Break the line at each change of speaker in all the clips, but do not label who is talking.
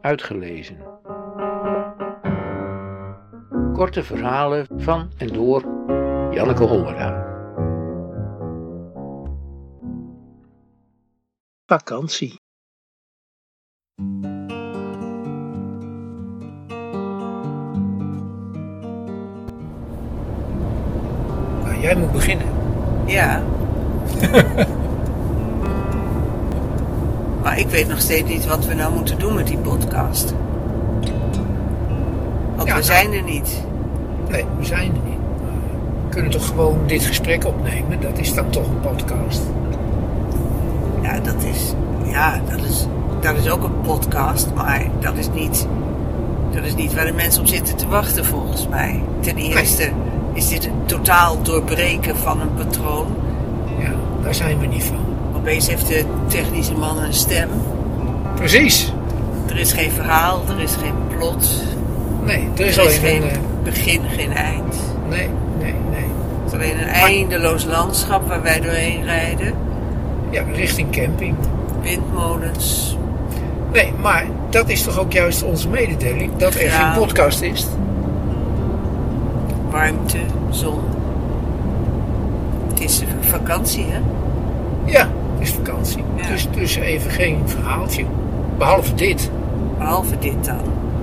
uitgelezen. Korte verhalen van en door Janneke Hollera.
Vakantie.
Nou, jij moet beginnen.
Ja. maar ik weet nog steeds niet wat we nou moeten doen met die podcast. Want
Ja,
we
nou.
zijn er niet.
Nee, we zijn er niet. We kunnen toch gewoon dit gesprek opnemen? Dat is dan toch een podcast.
Ja, dat is, ja, dat is, dat is ook een podcast, maar dat is, niet, dat is niet waar de mensen op zitten te wachten volgens mij. Ten eerste is dit een totaal doorbreken van een patroon.
Ja, daar zijn we niet van.
Opeens heeft de technische man een stem.
Precies.
Er is geen verhaal, er is geen plot,
Nee, er is
er is
alleen
geen
een... eh,
begin, geen eind.
Nee, nee, nee.
Het is alleen een eindeloos landschap waar wij doorheen rijden.
Ja, richting camping.
Windmolens.
Nee, maar dat is toch ook juist onze mededeling? Dat er
Ja.
geen podcast is?
warmte, zon. Het is een vakantie, hè?
Ja, het is vakantie.
Ja.
Dus, dus even geen verhaaltje. Behalve dit.
Behalve dit dan.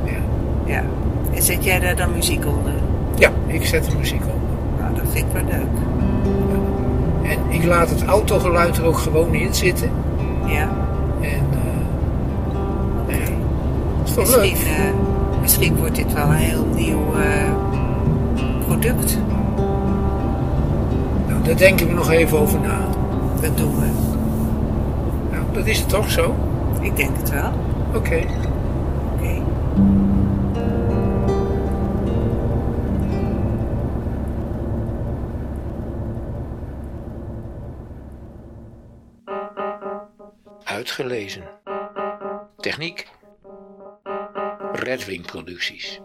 Ja,
Ja. En zet jij daar dan muziek onder?
ja ik zet de muziek op.
Nou, dat vind ik wel leuk.
En ik laat het autogeluid er ook gewoon in zitten.
Ja.
En eh nou ja, het is toch
Misschien,
leuk.
eh, misschien wordt dit wel een heel nieuw eh, product.
Nou, daar denken we nog even over na.
Dat doen we.
Nou, dat is het toch zo?
Ik denk het wel.
Oké.
Oké.
Uitgelezen. Techniek. Redwing Producties.